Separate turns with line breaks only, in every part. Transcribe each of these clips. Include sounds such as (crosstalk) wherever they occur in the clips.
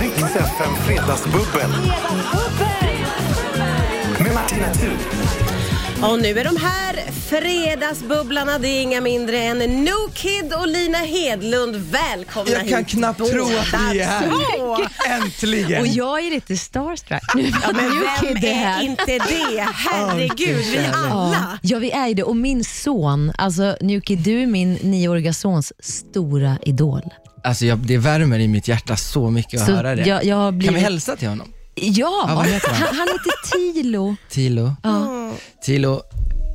Rix FM Fredagsbubbel med Martina Thun.
Och nu är de här, Fredagsbubblarna. Det är inga mindre än No Kid och Lina Hedlund. Välkomna
Jag kan
hit
knappt tro att vi är här.
båda två.
Äntligen!
Mm.
Och jag är lite starstruck. Nu (laughs)
Ja, men vem
Kid är
är
här.
inte det? Herregud, vi alla.
Ja, vi är ju det. Och min son, alltså Nuki, du är min nioåriga sons stora idol.
Alltså jag, det värmer i mitt hjärta så mycket att
Så
höra det.
jag- jag har blivit-
Kan vi hälsa till honom?
Ja,
Ja, vad heter han?
han, han heter Tilo.
Tilo.
Ja.
Tilo,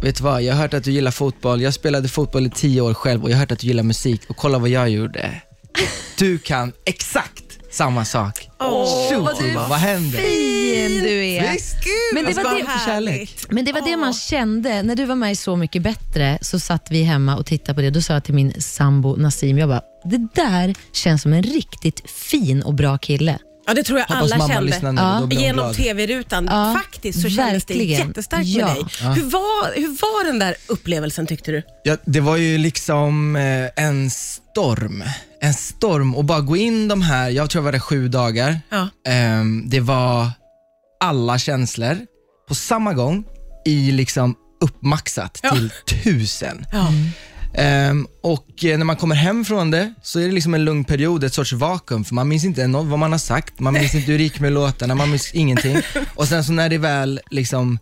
vet du vad? Jag har hört att du gillar fotboll. Jag spelade fotboll i tio år själv och jag har hört att du gillar musik. Och kolla vad jag gjorde. Du kan exakt samma sak. Shoot, Tilo, vad händer?
Fin du är.
Gud,
Men det
vad
var det-
härligt.
Men det var det man kände. När du var med i Så mycket bättre så satt vi hemma och tittade på det. Då sa jag till min sambo Nassim, jag bara, det där känns som en riktigt fin och bra kille.
Ja, det tror jag
Hoppas
alla
mamma
kände.
lyssnar nu.
Ja.
Då blir hon
Genom
glad.
tv-rutan.
Ja,
Faktiskt så kändes det
verkligen.
jättestarkt med
Ja.
dig. Hur, var, hur var den där upplevelsen tyckte du?
Ja, det var ju liksom eh, en storm. En storm och bara gå in de här, jag tror jag var där sju dagar.
Ja.
Ehm, det var alla känslor på samma gång i liksom uppmaxat
Ja.
till tusen.
Ja.
Ehm, och eh, när man kommer hem från det så är det liksom en lugn period, ett sorts vakuum, för man minns inte nå- vad man har sagt, man minns inte hur det gick med låtarna, man minns
(laughs)
ingenting. Och sen så när det väl liksom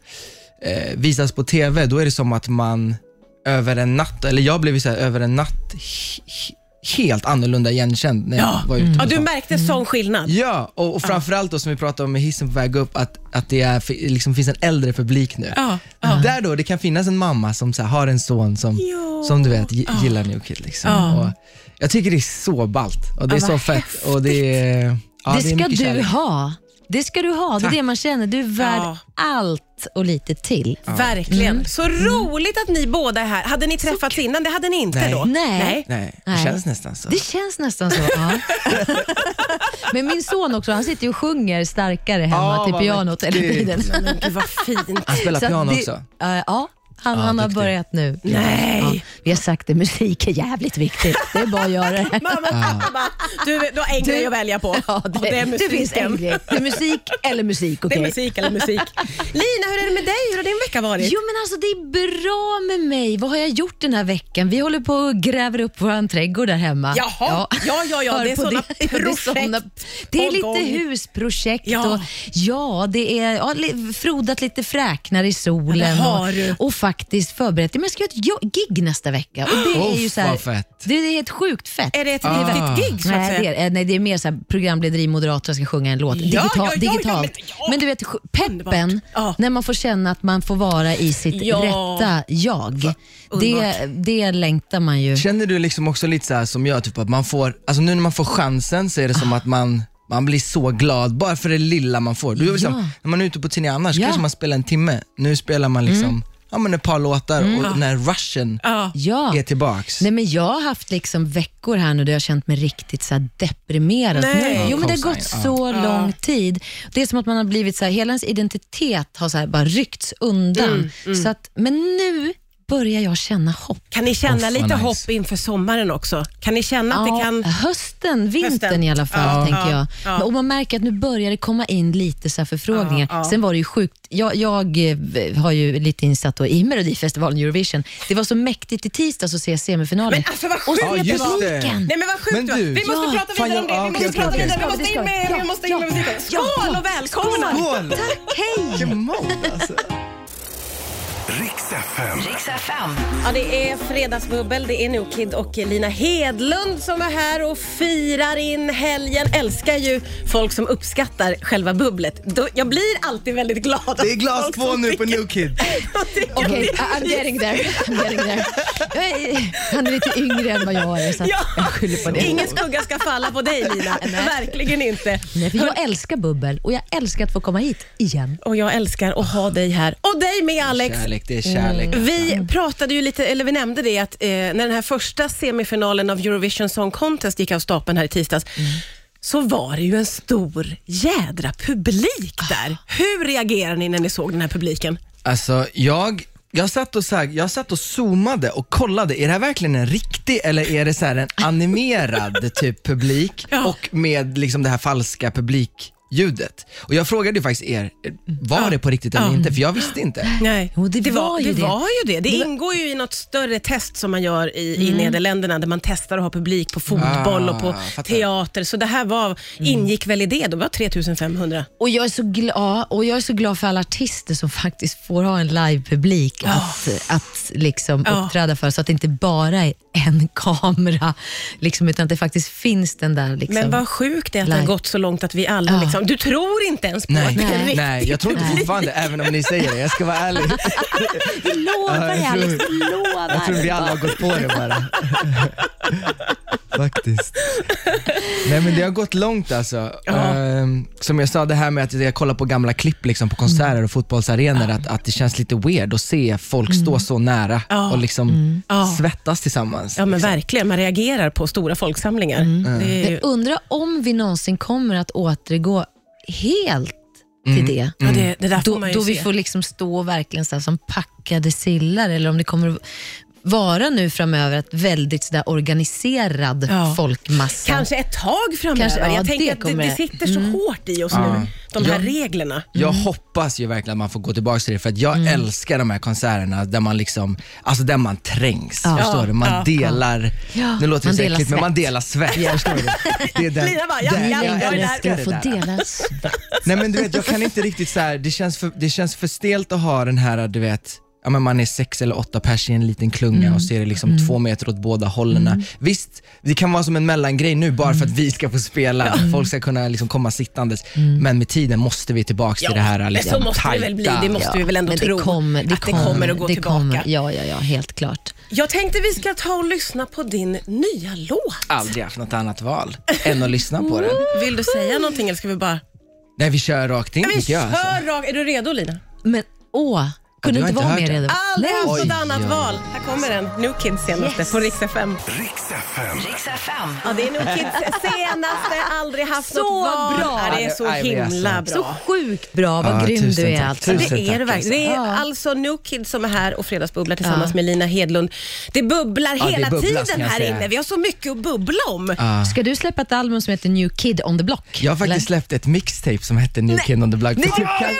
eh, visas på TV, då är det som att man över en natt, eller jag blev ju så här, över en natt he- he- helt annorlunda igenkänd när jag
Ja. Mm.
var ute på
Ja, du
stan.
märkte sån skillnad.
Ja, och, och framförallt då som vi pratade om med hissen på väg upp, att, att det är, fi- liksom finns en äldre publik nu.
Ja,
Mm. Där då, det kan finnas en mamma som så här, har en son som,
Ja.
som du vet gi- gillar New Kid. Liksom.
Ja.
Och jag tycker det är så ballt och det är
Ja,
så
vad
fett. Och det, är, ja,
det
är
ska
mycket
du
kärlek.
ha. Det ska du ha. Det är
Tack.
det man känner. Du är värd
Ja.
allt och lite till.
Verkligen.
Mm.
Så roligt att ni båda är här. Hade ni träffats innan? Det hade ni inte
Nej.
då?
Nej.
Nej, det
Nej.
känns nästan så.
Det känns nästan så. Ja.
(laughs)
Men min son också, han sitter ju och sjunger starkare hemma
Ja,
till
vad
pianot hela
mäktigt.
tiden.
Men gud vad fint.
(laughs)
Han spelar
Så att
piano
det-
också.
eh, ja, han, han har
duktig.
börjat nu.
Nej.
Ja, vi har sagt det, musik är jävligt viktigt. Det är bara att göra det.
Mamma och pappa bara, du, du har en grej att välja på.
(laughs) Ja,
Och det är
det finns en
musiken.
grej. Det är musik eller musik.
Det är
okej?
musik eller musik. Lina, hur är det med dig? Hur har din vecka varit?
Jo men alltså det är bra med mig. Vad har jag gjort den här veckan? Vi håller på och gräver upp vår trädgård där hemma.
Jaha. Ja, ja, ja.
Hör
Det är
på
såna
det (laughs) är
projekt
såna- Det är
på gång.
lite husprojekt
Ja.
och ja, det är ja, li- frodat lite fräknar i solen
Ja, det har du.
och, och faktiskt förberett. Men jag ska göra ett jo- gig nästa vecka och det är ju
Uff,
så här,
vad fett.
Det är helt sjukt fett.
Är det ett
Ah.
riktigt gig så att
Nej
säga?
det, är, eh, nej, det är mer så här, programledare, moderator, jag ska sjunga en låt. Digita-
ja, ja, ja,
digitalt.
men- ja.
Men du vet sj- peppen,
Underbart. Ja.
när man får känna att man får vara i sitt
Ja.
rätta jag. Det,
Underbart.
det längtar man ju.
Känner du liksom också lite så här som jag, typ att man får, alltså nu när man får chansen så är det
Ah.
som att man man blir så glad bara för det lilla man får. Du är liksom,
Ja.
När man är ute på turné annars
Ja. Mm.
kanske man spelar en timme. Nu spelar man liksom, ja, men ett par låtar och den här rushen
Mm. Ja.
Ja.
är tillbaks.
Nej, men jag har haft liksom veckor här nu där jag har känt mig riktigt så här deprimerad.
Nej.
Jo, men det
Ja,
har gått
cosign,
så lång tid. Det är som att man har blivit så här, hela ens identitet har så här bara ryckts undan.
Mm,
Så att, men nu börjar jag känna hopp.
Kan ni känna
Uff, vad
lite
nice.
hopp inför sommaren också? Kan ni känna att det kan...
Hösten, vintern
Hösten.
i alla fall,
Ja,
tänker
ja,
jag.
ja.
Men- Och man märker att nu börjar det komma in lite så här förfrågningar.
Ja, ja.
Sen var det ju sjukt. Jag, jag eh, har ju lite insatt då i Melodifestivalen Eurovision. Det var så mäktigt i tisdags att se semifinalen.
Men alltså vad
och
sjukt
se
Ja, just det.
publiken.
Nej men vad sjukt
Men
du,
du-
Vi måste
Ja.
prata
Fan,
vidare om det.
ja,
Vi
okej,
måste
okej,
prata
okej.
vidare. Vi
Ja,
måste in
det ska vi.
med, vi
Ja,
måste in
ja,
med musiken.
ja,
Skål
ja.
och välkomna!
Skål!
Tack, hej!
Vilken mod alltså.
Rix FM.
Ja, det är Fredagsbubbel, det är Nokid och Lina Hedlund som är här och firar in helgen. Älskar ju folk som uppskattar själva bubblet. Då- Jag blir alltid väldigt glad.
Det är glas två nu på New Kid.
Okej, I- I'm getting there. I'm getting there. Jag är, han är lite yngre än vad jag är, så att
Ja.
jag skyller på det.
Ingen skugga ska falla på dig Lina.
(laughs)
Verkligen inte.
Nej, för jag älskar bubbel och jag älskar att få komma hit igen.
Och jag älskar att ha dig här. Och dig med Alex.
Kärlek, Mm. det är kärlek.
Vi pratade ju lite, eller vi nämnde det att eh, när den här första semifinalen av Eurovision Song Contest gick av stapeln här i tisdags, så var det ju en stor jädra publik där. Hur reagerade ni när ni såg den här publiken?
Alltså jag jag satt, och så här, jag satt och zoomade och kollade, är det här verkligen en riktig eller är det så här en (laughs) animerad typ publik och med liksom det här falska publikljudet? Och jag frågade ju faktiskt er, var det på riktigt eller inte? För jag visste inte.
Nej.
Jo, det var ju
det.
det.
var ju det. Det ingår ju i något större test som man gör i, i Nederländerna där man testar att ha publik på fotboll
Ah,
och på
fattar.
teater. Så det här var, ingick väl i det. Det var 3500.
Och jag, är så gla- ja, och jag är så glad för alla artister som faktiskt får ha en live-publik att, att liksom
Ja.
uppträda för, så att det inte bara är en (laughs) kamera, liksom, utan att det faktiskt finns den där... Liksom.
Men vad sjukt det är att det har
Live.
gått så långt att vi alla
Ja.
liksom, du tror inte ens på att
Nej,
det är
(laughs)
riktigt.
nej, jag tror inte
Nej.
fortfarande, även om ni säger det. Jag ska vara ärlig. (laughs)
Vi lovar,
Ja, jag
Alex,
tror-
vi lovar.
Jag tror vi alla har gått på det bara. Faktiskt. Nej men det har gått långt alltså. Ehm, som jag sa, det här med att jag kollar på gamla klipp liksom, på konserter och fotbollsarenor, att, att det känns lite weird att se folk stå så nära
Mm. Ja. Mm.
och liksom
Ja.
svettas tillsammans.
Ja men
liksom.
verkligen, man reagerar på stora folksamlingar.
Mm.
Det är ju,
Men undra om vi någonsin kommer att återgå helt till det.
ja, det, det Mm. där får
Mm. Då,
man ju
då
se.
vi får liksom stå verkligen så här som packade sillar eller om det kommer att vara nu framöver att väldigt så där organiserad
Ja.
folkmassa.
Kanske ett tag framöver.
liksom- Kanske, ja,
jag
det
tänker att det,
kommer Mm.
det
det.
sitter så hårt i oss nu, de här reglerna.
Jag hoppas ju verkligen att man får gå tillbaka till det för att jag
Mm.
älskar de här konserterna där man liksom, alltså där man trängs.
Ja.
Förstår du? Man
Ja.
delar,
Ja.
nu låter det
Man
så
delar
äckligt men man
svett.
delar svett. Förstår du? Det är den,
Lina bara, ja,
där-
ja, jag är där.
älskar
ska
det
få
där.
dela svett.
(laughs) Nej men du vet, jag kan inte riktigt så här. Det, känns för, det känns för stelt att ha den här, du vet, ja, men man är sex eller åtta pers i en liten klunga
Mm.
och ser det liksom två meter åt båda hållen. Visst, det kan vara som en mellangrej nu bara
Mm.
för att vi ska få spela, folk ska kunna liksom komma sittandes, men med tiden måste vi tillbaka till det här
Mm. men
liksom,
så måste det väl bli. Det
tajta.
måste vi väl ändå
men
tro.
Det kommer, det
att det kommer att gå
det
tillbaka.
kommer. Ja, ja, ja, helt klart.
Jag tänkte vi ska ta och lyssna på din nya låt.
Aldrig haft något annat val än att lyssna
(laughs)
på den.
Vill du säga någonting eller ska vi bara...
Nej, vi kör rakt in
Vi
tycker jag. Alltså.
kör rakt. Är du redo Lina?
Men åh, kunde
du har
inte
inte
vara
hört
mer
den?
redo.
Aldrig
Nej.
haft
Oj,
något annat
oj, oj.
val. Här kommer den. New Kids senaste
Yes.
på Rix FM.
Riks FM.
Ja, det är New Kids senaste. Aldrig haft
Så
något val.
bra.
Ja, det är så
Ja, det är så.
himla bra.
Så sjukt bra, vad
Ja,
grym
tusen
du är
tack.
alltså.
Tusen
Det är det
tack,
verkligen. Det är
Ja.
alltså New Kids som är här och Fredagsbubblar tillsammans
Ja.
med Lina Hedlund. Det bubblar
Ja, det
hela
bubblas, kan
tiden
jag
här
säga.
inne. Vi har så mycket att bubbla om.
Ska du släppa ett album som heter New Kid on the Block?
Jag har faktiskt
Eller?
släppt ett mixtape som hette New Kid on the Block. Nej,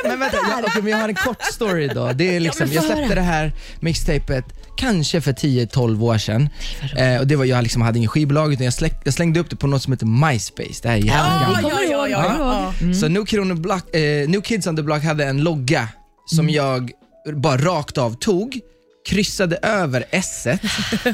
men vänta, jag, okej, men jag har en kort story då. Det är liksom,
men
jag
få
släppte
höra.
det här mixtapet kanske för 10-12 år sedan. Eh, och det var, jag liksom hade ingen skivbolag utan jag, släck, jag slängde upp det på något som heter MySpace. Det här är jävligt gammalt.
Vi kommer
Ja, ja,
ihåg,
ja,
vi kommer
ja.
ihåg.
Så New, Kid on the Block, eh, New Kids on the Block hade en logga som
Mm.
jag bara rakt av tog, kryssade över s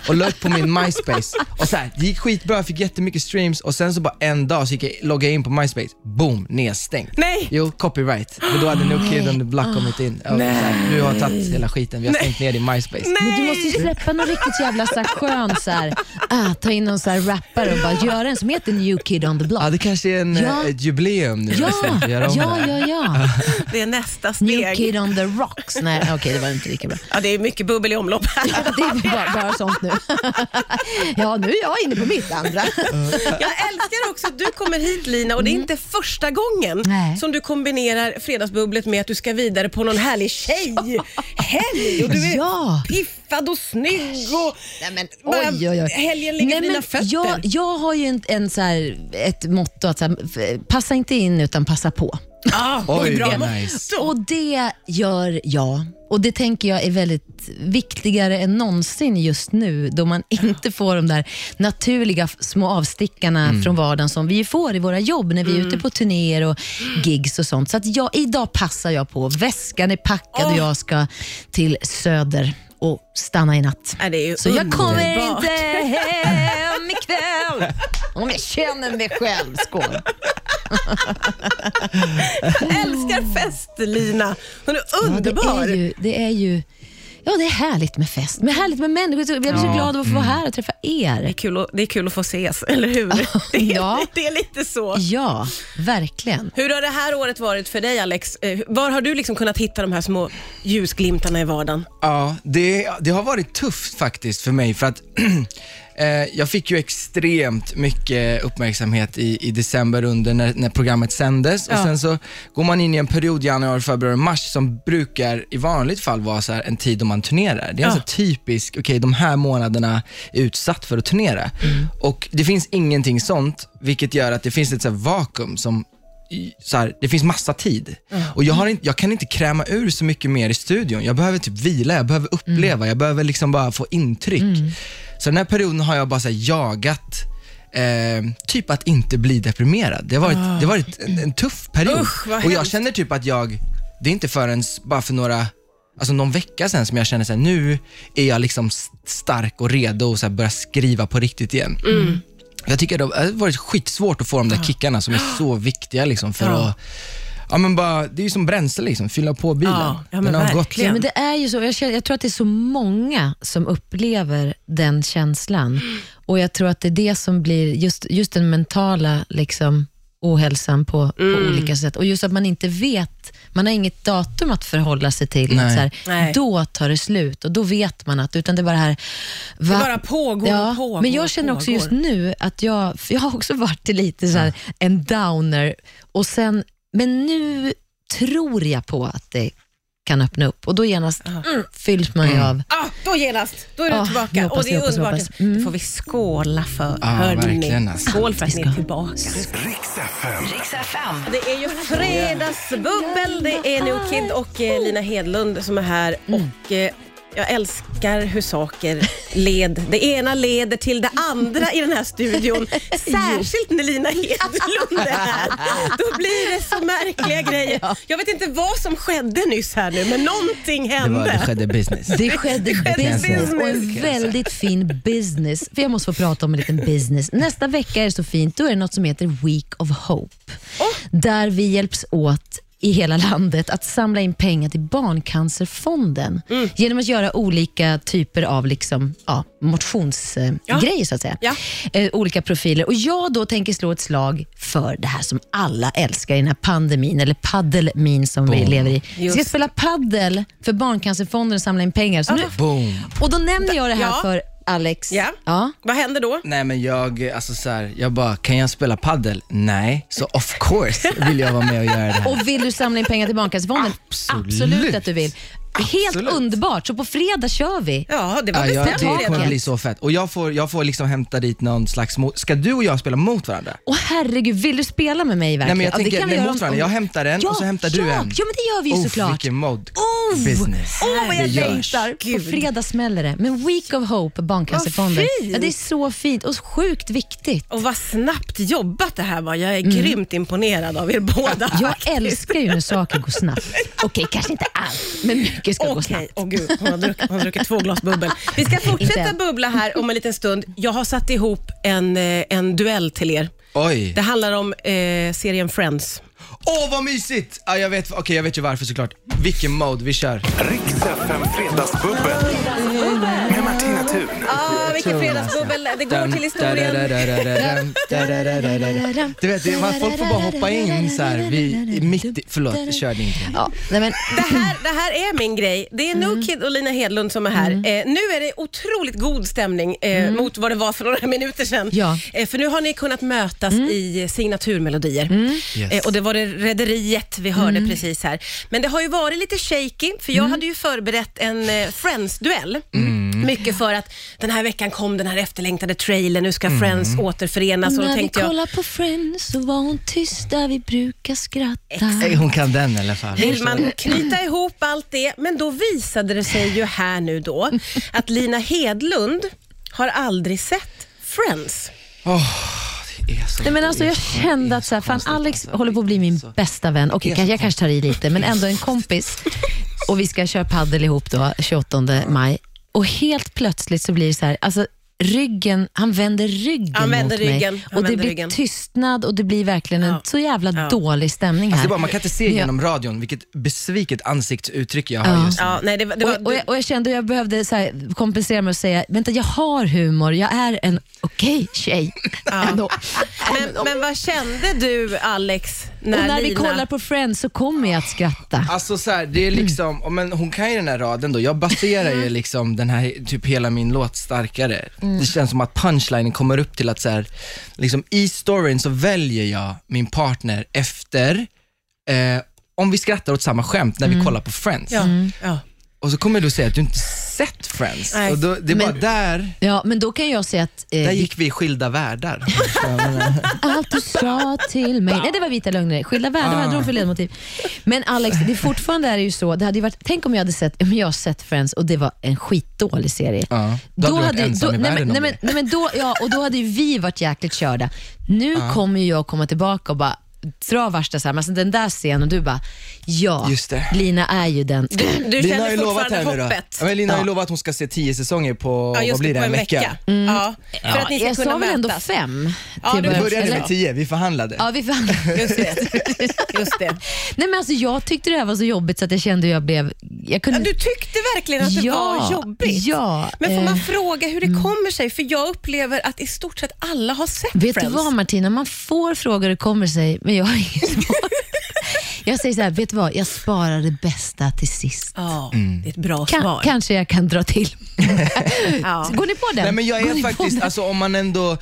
och la upp på
(laughs)
min MySpace. Och så här, det gick skitbra, jag fick jättemycket streams och sen så bara en dag så gick jag, loggade jag in på MySpace, boom, nedstängt.
Nej.
Jo, copyright. Men då hade New Kid on the
Ah.
Block kommit in. Och så här, du har tagit hela skiten, vi har stängt ner din MySpace.
Men du måste ju släppa någon riktigt jävla så här skön så här, ah, ta in någon så här rappare och bara göra en som heter New Kid on the Block.
Ja, det kanske är en,
Ja.
eh, ett jubileum nu.
Ja,
nästan, att göra
ja,
om det
ja,
här. (laughs)
ja.
Det är nästa
New
steg.
Kid on the Rocks. Nej, okej, det var inte lika bra.
Ja, det är mycket bubbel i omlopp här.
(laughs) Det är bara, bara sånt nu. (laughs) Ja, nu är jag inne på mitt andra.
Jag älskar också att du kommer hit Lina och det är inte första gången
Mm. Nej.
som du kombinerar fredagsbubblet med att du ska vidare på någon härlig tjejhelg och du är
(laughs) Ja.
piffad och snygg och
Nej, men,
Bara
oj, oj, oj.
helgen ligger
Nej,
vid
men
dina fötter.
Jag, jag har ju en, en så här, ett motto att så här, f- passa inte in utan passa på.
ah,
Oj,
bra.
vad nice.
Och-
Och det gör jag. Och det tänker jag är väldigt viktigare än någonsin just nu, då man inte får de där naturliga f- små avstickarna
Mm.
från vardagen som vi får i våra jobb när vi är ute på turnéer och gigs och sånt. Så att jag, idag passar jag på. Väskan är packad och
Åh.
jag ska till Söder och stanna i natt.
Ja, det är ju
Så jag kommer
underbart.
inte hem ikväll om jag känner mig själv. Skål!
Älskar fest Lina. Hon är
Ja,
underbar.
Det är ju, det är ju Ja, det är härligt med fest, men härligt med människor. Jag blir så glad av att få vara
Mm.
här och träffa
Det är,
er.
kul att, det är kul att få ses, (laughs) eller hur? Det är,
Ja.
det är lite så.
Ja, verkligen.
Hur har det här året varit för dig Alex? Eh, Var har du liksom kunnat hitta de här små ljusglimtarna i vardagen?
Ja, det, det har varit tufft faktiskt för mig för att (clears throat) Eh, jag fick ju extremt mycket uppmärksamhet i, i december under när, när programmet sändes. Och
Ja.
Sen så går man in i en period, januari, februari, mars, som brukar i vanligt fall vara så här en tid då man turnerar. Det är
Ja.
alltså typiskt, okej de här månaderna är utsatt för att turnera.
Mm.
Och det finns ingenting sånt, vilket gör att det finns ett så här vakuum som i- så här, det finns massa tid. Och jag, har inte, jag kan inte kräma ur så mycket mer i studion. Jag behöver typ vila, jag
Mm.
behöver uppleva, jag behöver liksom bara få intryck. Så den här perioden har jag bara så här jagat, eh, typ att inte bli deprimerad. Det har varit, det har varit en, en tuff period.
Ah. Usch, vad
och jag
hemskt.
känner typ att jag, det är inte förrän bara för några Alltså någon vecka sen som jag känner såhär, nu är jag liksom s- stark och redo och så här börjar skriva på riktigt igen.
Mm.
Jag tycker det har varit skitsvårt att få de där kickarna som är
(gasps)
så viktiga liksom för att Ja men bara, det är ju som bränsle liksom, fylla på bilen.
Ja, ja, men
Den har gått,
verkligen.
Ja, men det är ju så. Jag, känner, jag tror att det är så många som upplever den känslan. Och jag tror att det är det som blir just, just den mentala liksom, ohälsan på,
Mm.
på olika sätt. Och just att man inte vet, man har inget datum att förhålla sig till.
Nej.
Så här,
Nej.
Då tar det slut och då vet man att, utan det är bara det här... Va?
Det bara pågår och pågår
Men jag
och
känner också
pågår.
just nu att jag, för jag har också varit lite så här, en downer och sen, men nu tror jag på att det kan öppna upp och då genast mm, fylls man ju av.
Ah, då genast, då är du
Ah,
tillbaka.
hoppas,
och det är
hoppas,
underbart.
hoppas. Mm.
Det får vi skåla för.
Ja, verkligen, alltså.
Skål för att ni är tillbaka.
Riks FM.
Det är ju fredagsbubbel. Det är Neo Kid och eh, Lina Hedlund som är här. Och eh, jag älskar hur saker led. Det ena leder till det andra i den här studion. Särskilt när Lina Hedlund är här. Då blir det så märkliga grejer. Jag vet inte vad som skedde nyss här nu, men någonting
det, var, det
hände.
skedde business.
(laughs) Det skedde business och en
business.
väldigt fin business. För Jag måste få prata om en liten business. Nästa vecka är det så fint, då är det något som heter Week of Hope. Där vi hjälps åt i hela landet att samla in pengar till Barncancerfonden genom att göra olika typer av liksom, ja, motionsgrejer.
Ja.
så att säga.
Ja.
Eh, olika profiler. Och Jag då tänker slå ett slag för det här som alla älskar i den här pandemin, eller paddelmin som vi lever i. Vi ska
Just.
spela paddel för Barncancerfonden och samla in pengar. Så nu,
Boom.
och då nämner jag det här
Ah. Ja.
för Alex.
Ja.
Ja.
Vad hände då?
Nej men jag, alltså så här, jag bara, kan jag spela paddel? Nej, så of course vill jag vara med och göra det
(laughs)
här.
Och vill du samla in pengar till Barncancerfonden?
Absolut.
att du vill. Helt
Absolut.
underbart, så på fredag kör vi.
Ja, det var
Ja, jag,
bestämt
det kommer
redan.
bli så fett. Och jag får, jag får liksom hämta dit någon slags mot, ska du och jag spela mot varandra?
Åh herregud, vill du spela med
Nej
mig verkligen?
men jag
Ja, det
tänker,
kan
nej,
vi göra
mot
om-
varandra. Jag hämtar en
ja,
och så hämtar
ja,
du en.
Ja, men det gör vi ju
Oh,
såklart.
Vilken mod.
Oh,
Business.
Åh, vad jag
Det görs.
längtar. På
Gud.
fredag smäller det. Men Week of Hope, Barncancerfonden.
Vad fint.
Ja, det är så fint och sjukt viktigt.
Och vad snabbt jobbat det här var. Jag är grymt imponerad av er båda.
Mm. Jag älskar ju när saker
(laughs)
går snabbt. Okej, kanske inte allt, men mycket ska gå
Okej,
snabbt.
åh gud, hon har, druckit, hon har druckit två glas bubbel. Vi ska
(laughs) Inte
fortsätta
än.
bubbla här om en liten stund. Jag har satt ihop en, eh, en duell till er.
Oj.
Det handlar om eh, serien Friends.
Åh vad mysigt! Ja, jag, vet, okej jag vet ju varför såklart. Vilken mode, vi kör.
Riks FM Fredagsbubbel. Med Martina Thun.
Ah, vilken fredagsbubbel. Det går till historien.
Du vet, det- man, folk får bara hoppa in så här, vi, i mitt i, förlåt, kör din grej.
Ja, nej men,
Det här, det här är min grej. Det är No Kid och Lina Hedlund som är här. Eh, nu är det otroligt god stämning eh, mot vad det var för några (laughs) minuter sedan.
Ja.
Eh, för nu har ni kunnat mötas i signaturmelodier.
Yes.
Eh, och det var det rederiet vi hörde precis här. Men det har ju varit lite shaky, för jag hade ju förberett en eh, Friends-duell. Mycket för att den här veckan kom den här efterlängtade trailern, nu ska Friends återförenas. Och då
när vi
tänkte jag,
kollar på Friends så var hon tyst där vi brukar skratta.
Nej, Hon kan den i alla fall.
Vill man knyta ihop allt det, men då visade det sig ju här nu då att Lina Hedlund har aldrig sett Friends.
Det är så-
Nej, men alltså, jag
det är så-
kände att så här, fan, Alex håller på att bli min bästa vän. Okej, kanske- jag kanske tar i lite, men ändå en kompis. Och Vi ska köra paddel ihop då, 28 maj. Och Helt plötsligt så blir det så här, alltså, ryggen, han vänder ryggen
Han vänder
mot
ryggen,
mig.
han
Och Det
vänder
blir
ryggen.
tystnad och det blir verkligen en
Ja.
så jävla
Ja.
dålig stämning här.
Alltså, det är bara, man kan inte se
Ja.
genom radion vilket besviket ansiktsuttryck jag har
Ja.
just nu.
Ja, nej, det, var- det
Och,
var,
jag- och, jag, och jag kände att jag behövde så här, kompensera mig och säga, vänta jag har humor, jag är en okej tjej. (laughs) Ändå.
men, men vad kände du Alex När
och när vi
Lina-
kollar på Friends så kommer jag att skratta.
Alltså så här, det är liksom, ja, men hon kan ju den här raden då. Jag baserar ju liksom den här, typ hela min låt starkare. Det känns som att punchlinen kommer upp till att så här, liksom i storyn så väljer jag min partner efter, eh, om vi skrattar åt samma skämt när vi kollar på Friends.
Ja.
Mm.
Ja.
Och så kommer du säga att du inte sett Friends.
Nej.
Och då, det är bara där,
Ja, men då kan jag säga att eh,
där gick vi i skilda världar.
allt du sa till mig. Nej, det var vita lögner. Skilda
Ah.
världar hade de för ledmotiv. Men Alex, det är fortfarande är det ju så. Det hade ju varit, tänk om jag hade sett, om jag har sett Friends och det var en skitdålig serie.
Ja, då hade du varit ensam
då,
i
nej,
världen
men,
om
nej, men,
det.
nej, men då, ja, och då hade ju vi varit jäkligt körda. Nu kommer ju jag komma tillbaka och bara dra värsta så här, men alltså den där scenen och du bara, ja,
Just det.
Lina är ju den.
Du
Lina har
känner
ju lovat
fortfarande
här nu då.
hoppet.
Ja, men Lina har ju lovat att hon ska se tio säsonger på, vad blir det, en vecka?
Ja, för att ni ska
Mm. jag
kunna
sa väl ändå
mötas.
fem?
Ja,
till
du
att
Vi
börja med.
började
Eller-
med tio, vi förhandlade.
Ja, vi fan.
Just det. Just det.
Nej, men alltså, jag tyckte det här var så jobbigt så att jag kände hur jag blev... Jag kunde...
Ja, du tyckte verkligen att det
Ja,
var jobbigt.
ja,
Men får man
eh.
fråga hur det kommer sig? För jag upplever att i stort sett alla har sett
Vet
Friends.
du vad Martina, man får frågor hur det kommer sig, men jag har inget svar. jag säger så här, vet du vad, jag sparar det bästa till sist.
Ja, det är ett bra
Kan,
svar.
kanske jag kan dra till.
Ja.
Går ni på den?
Nej men jag
Går
är
ni på
faktiskt,
den?
alltså om man ändå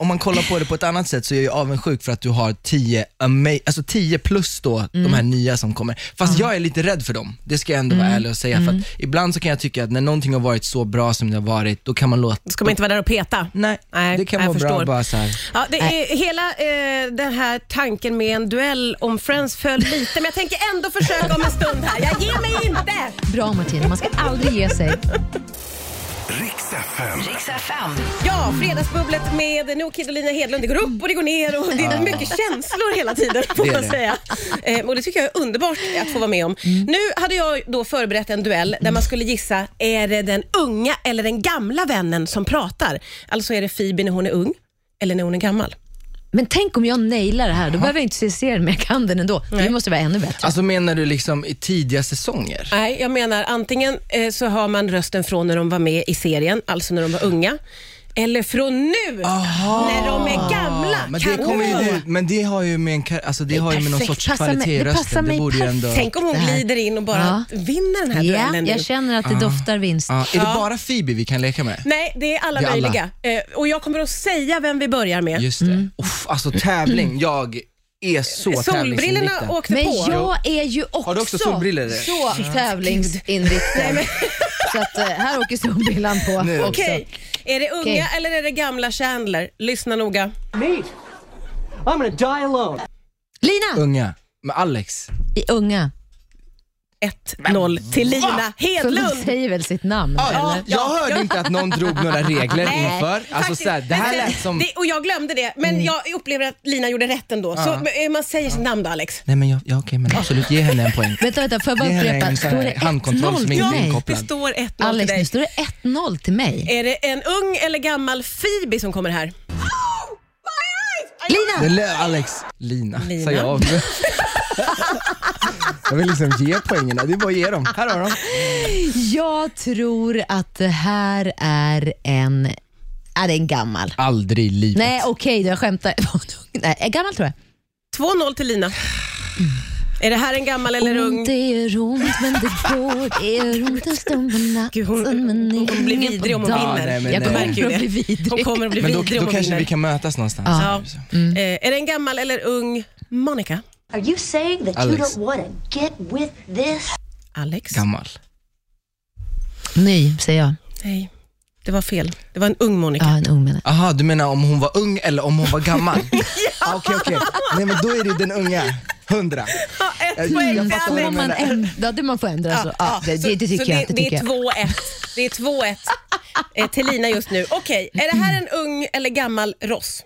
om man kollar på det på ett annat sätt så är jag ju avundsjuk för att du har 10 ama- alltså 10 plus då
Mm.
de här nya som kommer. Fast jag är lite rädd för dem, det ska jag ändå
Mm.
vara ärlig och säga. För att ibland så kan jag tycka att när någonting har varit så bra som det har varit, då kan man låta...
Ska man inte vara där och peta?
Nej,
Nej,
det kan
jag
vara
förstår.
bra bara så här.
Ja, det är, hela eh, den här tanken med en duell om Friends föll lite, men jag tänker ändå försöka om en stund här. Jag ger mig inte!
Bra Martina, man ska aldrig ge sig.
Riks FM.
Ja, Fredagsbubblet med Noah Kid och Lina Hedlund. Det går upp och det går ner och det är mycket känslor hela tiden får
Det Mm. är
man
det.
säga. Eh, och det tycker jag är underbart att få vara med om. Nu hade jag då förberett en duell där man skulle gissa, är det den unga eller den gamla vännen som pratar? Alltså är det Phoebe när hon är ung eller när hon är gammal?
Men tänk om jag nailar det här, då behöver jag inte se serien, men jag kan den ändå. Det måste vara ännu bättre.
Alltså menar du liksom i tidiga säsonger?
Nej, jag menar antingen eh, så har man rösten från när de var med i serien, alltså när de var unga, eller från nu när de är gamla.
Men det,
Kan
kommer
du-
ju, men det har ju med, en, kar- alltså det har ju med någon
perfekt.
sorts
Passar mig-
kvalitet i
det passar
rösten. Det
mig
borde ju ändå...
Tänk om hon
Det här.
glider in och bara
Ja.
vinner den här
Ja,
duellen nu.
jag känner att det doftar vinst.
Ja, är det bara Phoebe vi kan leka med?
Nej, det är alla
Det är alla.
möjliga. Eh, och jag kommer att säga vem vi börjar med.
Just det. Uff, alltså tävling, jag är så
mm. Eh, Solbrillorna
tävlingsinriktad.
åkte
Men
på.
jag är ju också,
du också solbriller?
så tävlingsinriktad. så att, eh, här åker solbrillan på
Nu.
också.
Okej, är det unga
Okej.
eller är det gamla Chandler? Lyssna noga.
Meet. I'm gonna die alone.
Lina!
Unga. Med Alex.
I unga.
1-0 till Lina
Så man
Hedlund.
säger väl sitt namn?
Ja,
eller?
jag hörde inte att någon drog
(laughs)
några regler
Nej,
inför. Alltså,
faktiskt.
så här, det här
Men sen-
lät som...
det, och jag glömde det, men
Mm.
jag upplever att Lina gjorde rätt ändå. Så eh, man säger sitt namn då, Alex.
Nej men jag, ja, okej, men absolut, ge henne en poäng.
(laughs)
Vänta, vänta, får jag bara
Ge henne
upprepa?
en sån här
Står det
handkontroll
1-0
som
till
inte är
mig?
inkopplad.
Det står 1-0 till
Alex, nu
dig.
står det 1-0 till mig.
Är det en ung eller gammal Phoebe som kommer här?
Det
Lina!
lät Alex. Lina,
Lina.
sa jag
(laughs)
av mig. Jag vill liksom ge poängerna, det är bara att ge dem. Här har de.
Jag tror att det här är en... Är det en gammal?
Aldrig i livet.
Nej, okej, då jag skämtar. (laughs) Nej, en gammal tror jag.
2-0 till Lina. Är det här en gammal eller ung?
Ont är ont, men det går. Det är ont en stund på
Gud, hon-
natten, men
hon kommer bli
ingen
vidrig
på
om hon
dagen.
vinner.
Ja, nej, men
jag
nej.
kommer
Hon
ju
att
det.
bli vidrig.
Hon kommer att bli
Men då,
vidrig
då
om hon
kanske
vinner.
vi kan mötas någonstans.
Ja. Eh, Är det en gammal eller ung Monica?
Are you saying that you
Alex.
don't want to get with this?
Alex?
Gammal.
Ny, säger jag.
Nej, det var fel. Det var en ung Monica.
Ja, en ung människa.
Aha, du menar om hon var ung eller om hon var
(laughs)
gammal? ja. Okej, okej. Nej men då är det den unga. Hundra.
Ja, ett
Jag-
poäng
jag
till
fattar vad
Alex.
du menar.
Man ändra, ja, det man får ändra. så. alltså, Ja, det, det, det tycker
så
jag. Det,
det, det
tycker
är
jag.
2-1. Det är 2-1 eh, till Lina just nu. Okej, är det här en ung eller gammal Ross?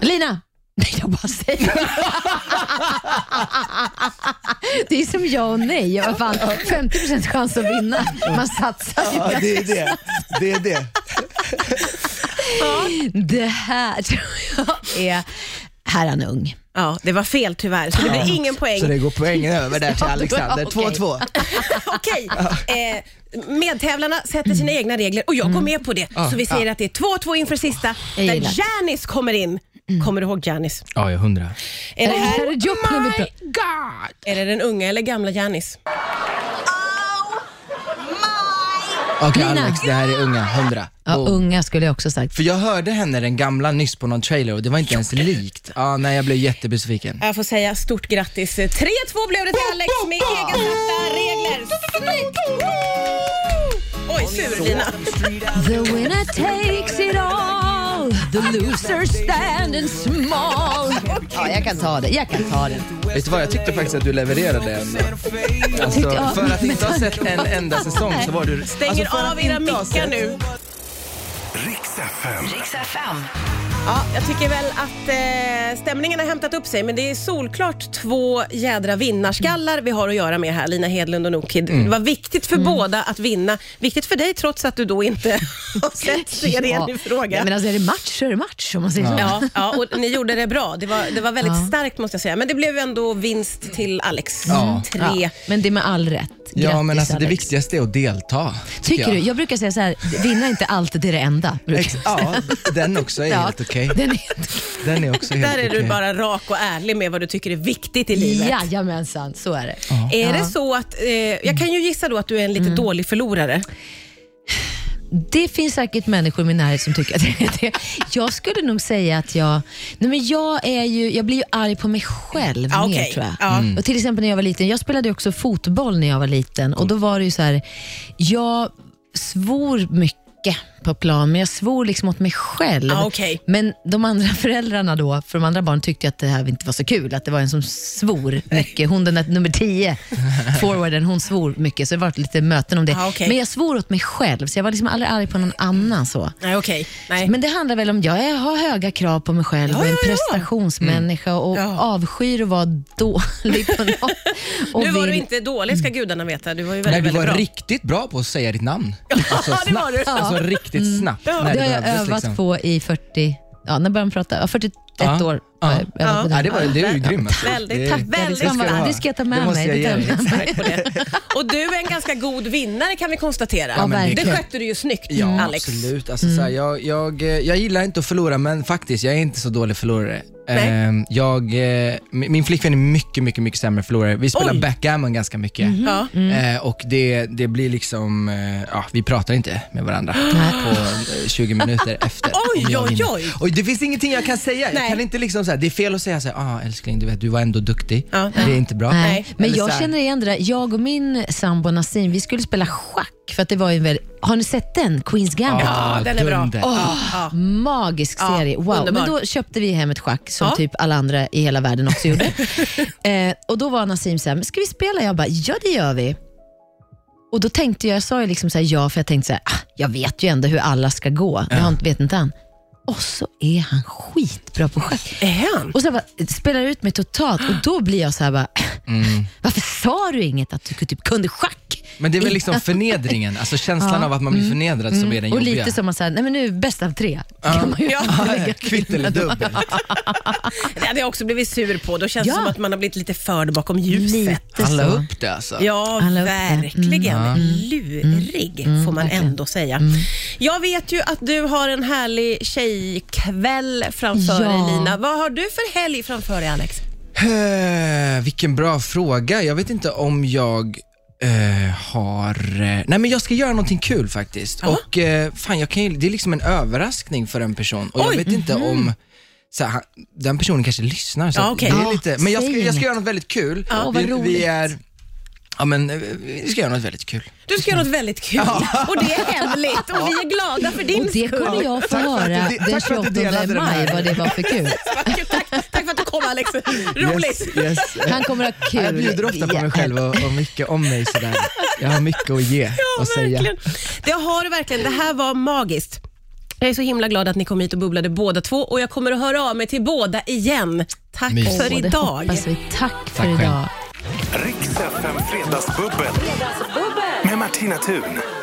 Lina! (laughs) Nej, jag bara säger Det är som ja och nej. Jag har fan 50% chans att vinna. Man satsar ju.
Ja, det är det. Det är det.
Det här tror jag är... Här är han ung.
Ja, det var fel tyvärr, så det blir ingen
Så
poäng.
det går poängen över där till Alexander.
Okej.
2-2.
Okej, eh, medtävlarna sätter sina egna regler och jag går med på det. Så vi säger att det är 2-2 inför sista,
Jag
där
gillar.
Janis kommer in Kommer du ihåg Janis?
Ja, jag hundra.
Är det,
Är
här,
det Joplin vi pratar-
är det den unga eller gamla Janis?
Okej
Lina.
Alex, det här är unga. Hundra.
Ja,
Boom.
unga skulle jag också sagt.
För jag hörde henne, den gamla, nyss på någon trailer och det var inte ens likt. Ja, nej, jag blev jättebesviken.
Jag får säga stort grattis. 3-2 blev det till Alex med egensatta regler. Snyggt! Oj, sur Lina.
The winner takes it all The loser standing small Ja, jag kan ta det. Jag kan ta det.
Vet du vad, jag tyckte faktiskt att du levererade ändå. Alltså,
Tyckte jag.
för att inte ha sett en enda säsong så var du...
Stänger
alltså, för att
av era
inte ha
mickar
sett-
nu.
Riks FM.
Ja, jag tycker väl att eh, stämningen har hämtat upp sig, men det är solklart två jädra vinnarskallar vi har att göra med här, Lina Hedlund och Nokid. Det var viktigt för båda att vinna. Viktigt för dig trots att du då inte (laughs) har sett serien i fråga.
Ja, men alltså, är det match så är det match om man säger så.
Ja, ja, och ni gjorde det bra. Det var, det var väldigt
Ja.
starkt måste jag säga. Men det blev ändå vinst till Alex.
Ja.
Tre.
Ja, men det är med all rätt.
Ja, men
Grattis,
alltså det
Alex.
viktigaste är att delta.
Tycker du? Jag brukar säga så här, vinna är inte alltid det är det enda. brukar
Ex-
jag
ja,
(laughs)
säga.
den också är
Ja,
helt okej.
Den är helt
Den är också helt
Där är du
okej.
bara rak och ärlig med vad du tycker är viktigt i
okej.
livet.
Jajamensan, så är det.
Är
Ja.
det så att, eh, jag kan ju gissa då att du är en lite dålig förlorare.
Det finns säkert människor i min närhet som tycker att det är det. Jag skulle nog säga att jag... Nej men jag, är ju, jag blir ju arg på mig själv
Ja,
mer
Ah, okej.
tror jag. Mm.
Ja.
Och till exempel när jag var liten, jag spelade ju också fotboll när jag var liten och då
Mm.
var det ju så här, jag svor mycket på plan, men jag svor liksom åt mig själv.
Ja, Ah, okej.
Men de andra (laughs) föräldrarna då, för de andra barnen tyckte ju att det här inte var så kul, att det var en som svor mycket. Hon den där nummer 10,
(laughs)
forwarden, hon svor mycket, så det var lite möten om det.
Ja, Ah, okej.
Men jag svor åt mig själv, så jag var liksom aldrig arg på någon annan. så.
Nej okej. Nej.
Men det handlar väl om, jag är- har höga krav på mig själv och är en
ja, ja.
prestationsmänniska och
Ja.
avskyr att vara dålig
(laughs)
på något. Och
nu var
vill-
du inte dålig ska gudarna veta. Du var ju
Nej,
väldigt,
du var
väldigt bra.
riktigt bra på att säga ditt namn. Alltså,
Ja, Mm. det var du.
Alltså riktigt snabbt. när
Det har jag
behövdes, liksom.
övat
liksom.
på i 40, ja när började man prata? Ja, 41
Ja.
år.
Ja.
har jag övat på
Ja.
det.
Ja, det, var, det är ju grymt. Alltså.
Väldigt,
Det-
tack,
det
väldigt
ska du
bra.
ha.
Det ska jag ta med
måste
mig,
jag
det
ge
tar jag
dig.
(laughs) Mm. Och du är en ganska god vinnare kan vi konstatera.
Ja, men
det
verkligen.
skötte du ju snyggt
Ja,
Alex. Mm.
absolut. Alltså, så här, jag, jag, eh, jag gillar inte att förlora, men faktiskt, jag är inte så dålig förlorare.
Nej.
Ehm, Jag, eh, min min flickvän är mycket, mycket, mycket sämre förlorare. Vi spelar
Oj. Mhm.
backgammon ganska mycket.
Ja.
Mm.
Eh, Och det, det blir liksom, eh, ja, vi pratar inte med
(gasps)
varandra på eh, 20
(laughs)
minuter efter.
Oj,
om jag
oj,
vinner.
oj.
Och det finns ingenting jag kan säga.
Nej.
Jag kan inte liksom så här, det är fel att säga så här, ah, älskling, du, vet, du var ändå duktig.
Ja.
Det är inte bra.
Nej. Men
Eller så
jag
här-
känner igen det där. Jag och min sambo Nassim, vi skulle spela schack. För att det var ju en väl... Har ni sett den? Queens Gambit?
Ah,
den är bra.
dunder.
Ah.
Ja.
Magisk
Ja,
serie. Wow.
underbar.
Men då köpte vi hem ett schack som
Ja.
typ alla andra i hela världen också gjorde. eh, och Då var Nassim så här, men ska vi spela? Jag bara, ja det gör vi. Och Då tänkte jag, jag sa ju liksom så här, ja, för jag tänkte så här, ah, jag vet ju ändå hur alla ska gå. Det har, vet inte han. Och så är han skitbra på schack.
Är han?
Och så bara, spelar ut mig totalt och då blir jag så här, bara, (laughs) varför sa du inget att du typ kunde schack?
Mm. Men det är väl liksom förnedringen, alltså känslan
Ja. Mm.
av att man blir förnedrad som är den
Och
jobbiga.
lite som man säger, nej men nu bäst av tre. Kan man ju (laughs)
(laughs)
lägga till.
Kvitt eller dubbel.
Det hade jag också blivit sur på. Då känns
Ja.
det som att man har blivit lite förd bakom ljuset.
Lite
Alla
så.
upp det alltså.
Ja,
Alla upp där. Mm.
verkligen. Lurig, får man
verkligen.
ändå säga. Jag vet ju att du har en härlig tjejkväll framför
Ja.
dig, Lina. Vad har du för helg framför dig, Alex?
Eh, vilken bra fråga. Jag vet inte om jag eh, har... eh, nej men jag ska göra någonting kul faktiskt. Och eh, fan, jag kan ju, Det är liksom en överraskning för en person och
Oj,
jag vet inte om så här, han- den personen kanske lyssnar. Så
Ja,
att
okej.
det
Mhm. Ja,
är lite, men jag
säg
ska, jag ska
inget.
göra något väldigt kul.
Ja, vad
vi,
roligt.
vi är... Ja men eh, vi ska göra något väldigt kul.
Du ska göra något väldigt kul (laughs) och det är hemligt och vi är glada för din
Och det
skull.
kunde jag få
att du-
höra
tack för
den
att du
28
delade den
maj,
här.
vad det var för kul.
Tack, tack för att du kom,
(laughs)
Alex. Roligt.
Yes, yes.
Han kommer ha kul.
Jag bjuder ofta på mig
Ja.
själv och, och mycket om mig sådär. Jag har mycket att
(laughs)
ge
Ja,
och säga.
verkligen. Det har du verkligen. Det här var magiskt. Jag är så himla glad att ni kom hit och bubblade båda två och jag kommer att höra av mig till båda igen. Tack
Mys.
för
Och det
idag.
hoppas vi. Tack för
själv.
idag.
Riks FM Fredagsbubbel. Med Martina Thun.